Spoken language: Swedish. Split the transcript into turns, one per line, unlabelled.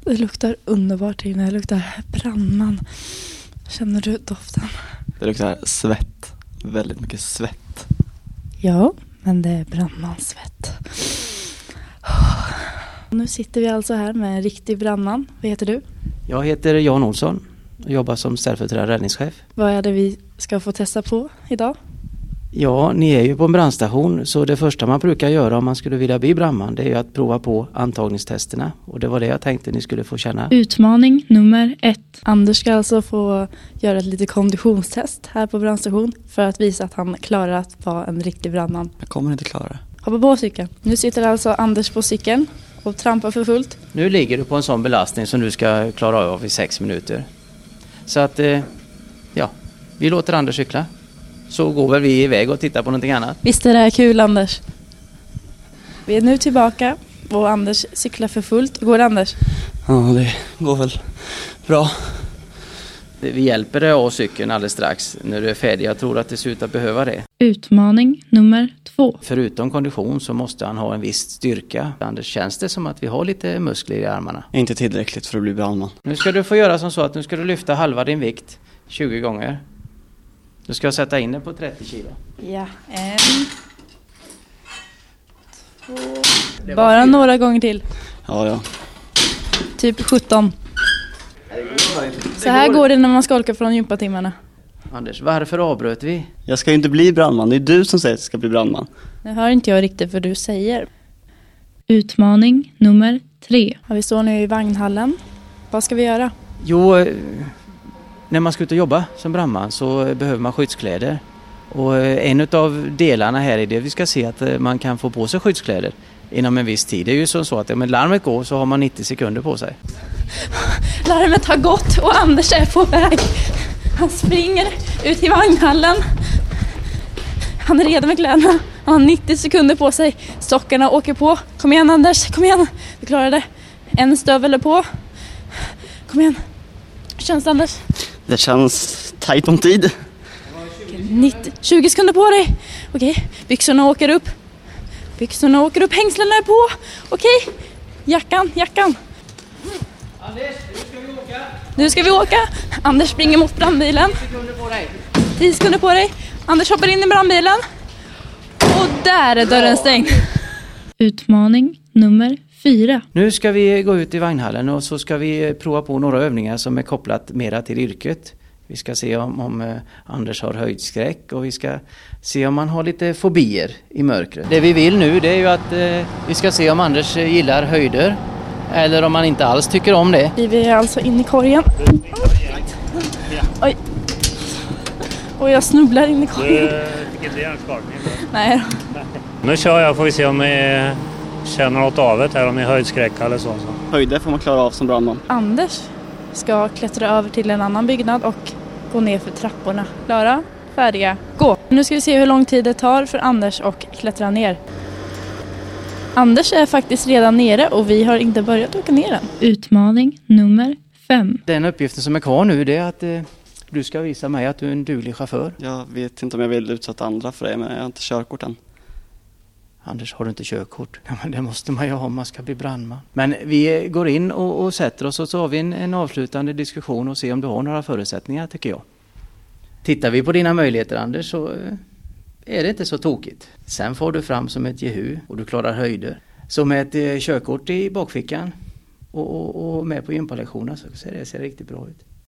Det luktar underbart här inne. Det luktar brandman. Känner du doften?
Det luktar svett. Väldigt mycket svett.
Ja, men det är brandmanssvett. Nu sitter vi alltså här med en riktig brandman. Vad heter du?
Jag heter Jan Olsson och jobbar som ställföreträdande räddningschef.
Vad är det vi ska få testa på idag?
Ja, ni är ju på en brandstation så det första man brukar göra om man skulle vilja bli brandman det är ju att prova på antagningstesterna och det var det jag tänkte ni skulle få känna.
Utmaning nummer ett.
Anders ska alltså få göra ett litet konditionstest här på brandstation för att visa att han klarar att vara en riktig brandman.
Jag kommer inte klara det.
Hoppa på cykeln. Nu sitter alltså Anders på cykeln och trampar för fullt.
Nu ligger du på en sån belastning som du ska klara av i sex minuter. Så att, eh, ja, vi låter Anders cykla. Så går väl vi iväg och tittar på någonting annat.
Visst är det här kul Anders? Vi är nu tillbaka och Anders cyklar för fullt. Går det, Anders?
Ja, det går väl bra.
Vi hjälper dig av cykeln alldeles strax när du är färdig. Jag tror att det ser ut att behöva det.
Utmaning nummer två.
Förutom kondition så måste han ha en viss styrka. Anders, känns det som att vi har lite muskler i armarna?
Inte tillräckligt för att bli brandman.
Nu ska du få göra som så att nu ska du lyfta halva din vikt 20 gånger. Du ska jag sätta in den på 30 kilo.
Ja, en... Två... Bara några gånger till.
Ja, ja.
Typ 17. Så här går det när man skolkar från gympatimmarna.
Anders, varför avbröt vi?
Jag ska ju inte bli brandman. Det är du som säger att jag ska bli brandman.
Nu hör inte jag riktigt vad du säger.
Utmaning nummer tre.
Ja, vi står nu i vagnhallen. Vad ska vi göra?
Jo, eh, när man ska ut och jobba som brandman så behöver man skyddskläder. Och eh, en av delarna här är det vi ska se att eh, man kan få på sig skyddskläder inom en viss tid. Det är ju som så att om larmet går så har man 90 sekunder på sig.
Larmet har gått och Anders är på väg. Han springer ut i vagnhallen. Han är redo med kläderna. Han har 90 sekunder på sig. Sockorna åker på. Kom igen Anders, kom igen. Du klarar det. En stövel är på. Kom igen. Hur känns det Anders?
Det känns tajt om tid.
90, 20 sekunder på dig. Okej, byxorna åker upp. Byxorna åker upp, hängslena är på. Okej, jackan, jackan. Anders, nu ska vi åka. Nu ska vi åka. Anders springer mot brandbilen. 10 sekunder på dig. Anders hoppar in i brandbilen. Och där är dörren stängd.
Utmaning nummer fyra.
Nu ska vi gå ut i vagnhallen och så ska vi prova på några övningar som är kopplat mera till yrket. Vi ska se om, om eh, Anders har höjdskräck och vi ska se om han har lite fobier i mörkret. Det vi vill nu det är ju att eh, vi ska se om Anders eh, gillar höjder eller om han inte alls tycker om det.
Vi är alltså inne i korgen. Oj. Och jag snubblar in i korgen.
Du fick inte hjärnskakning?
Nej då.
Nu kör jag får vi se om ni känner något av det här, om ni är höjdskräck eller så. så.
Höjder får man klara av som brandman.
Anders ska klättra över till en annan byggnad och gå ner för trapporna. Klara, färdiga, gå! Nu ska vi se hur lång tid det tar för Anders att klättra ner. Anders är faktiskt redan nere och vi har inte börjat åka ner än.
Utmaning nummer fem.
Den uppgiften som är kvar nu det är att eh, du ska visa mig att du är en duglig chaufför.
Jag vet inte om jag vill utsätta andra för det, men jag har inte körkort än.
Anders, har du inte körkort? Ja, men det måste man ju ha om man ska bli brandman. Men vi eh, går in och, och sätter oss och så har vi en, en avslutande diskussion och ser om du har några förutsättningar, tycker jag. Tittar vi på dina möjligheter, Anders, så eh, är det inte så tokigt. Sen får du fram som ett jehu och du klarar höjder. Så med ett eh, körkort i bakfickan och, och, och med på gympalektionerna så ser det ser riktigt bra ut.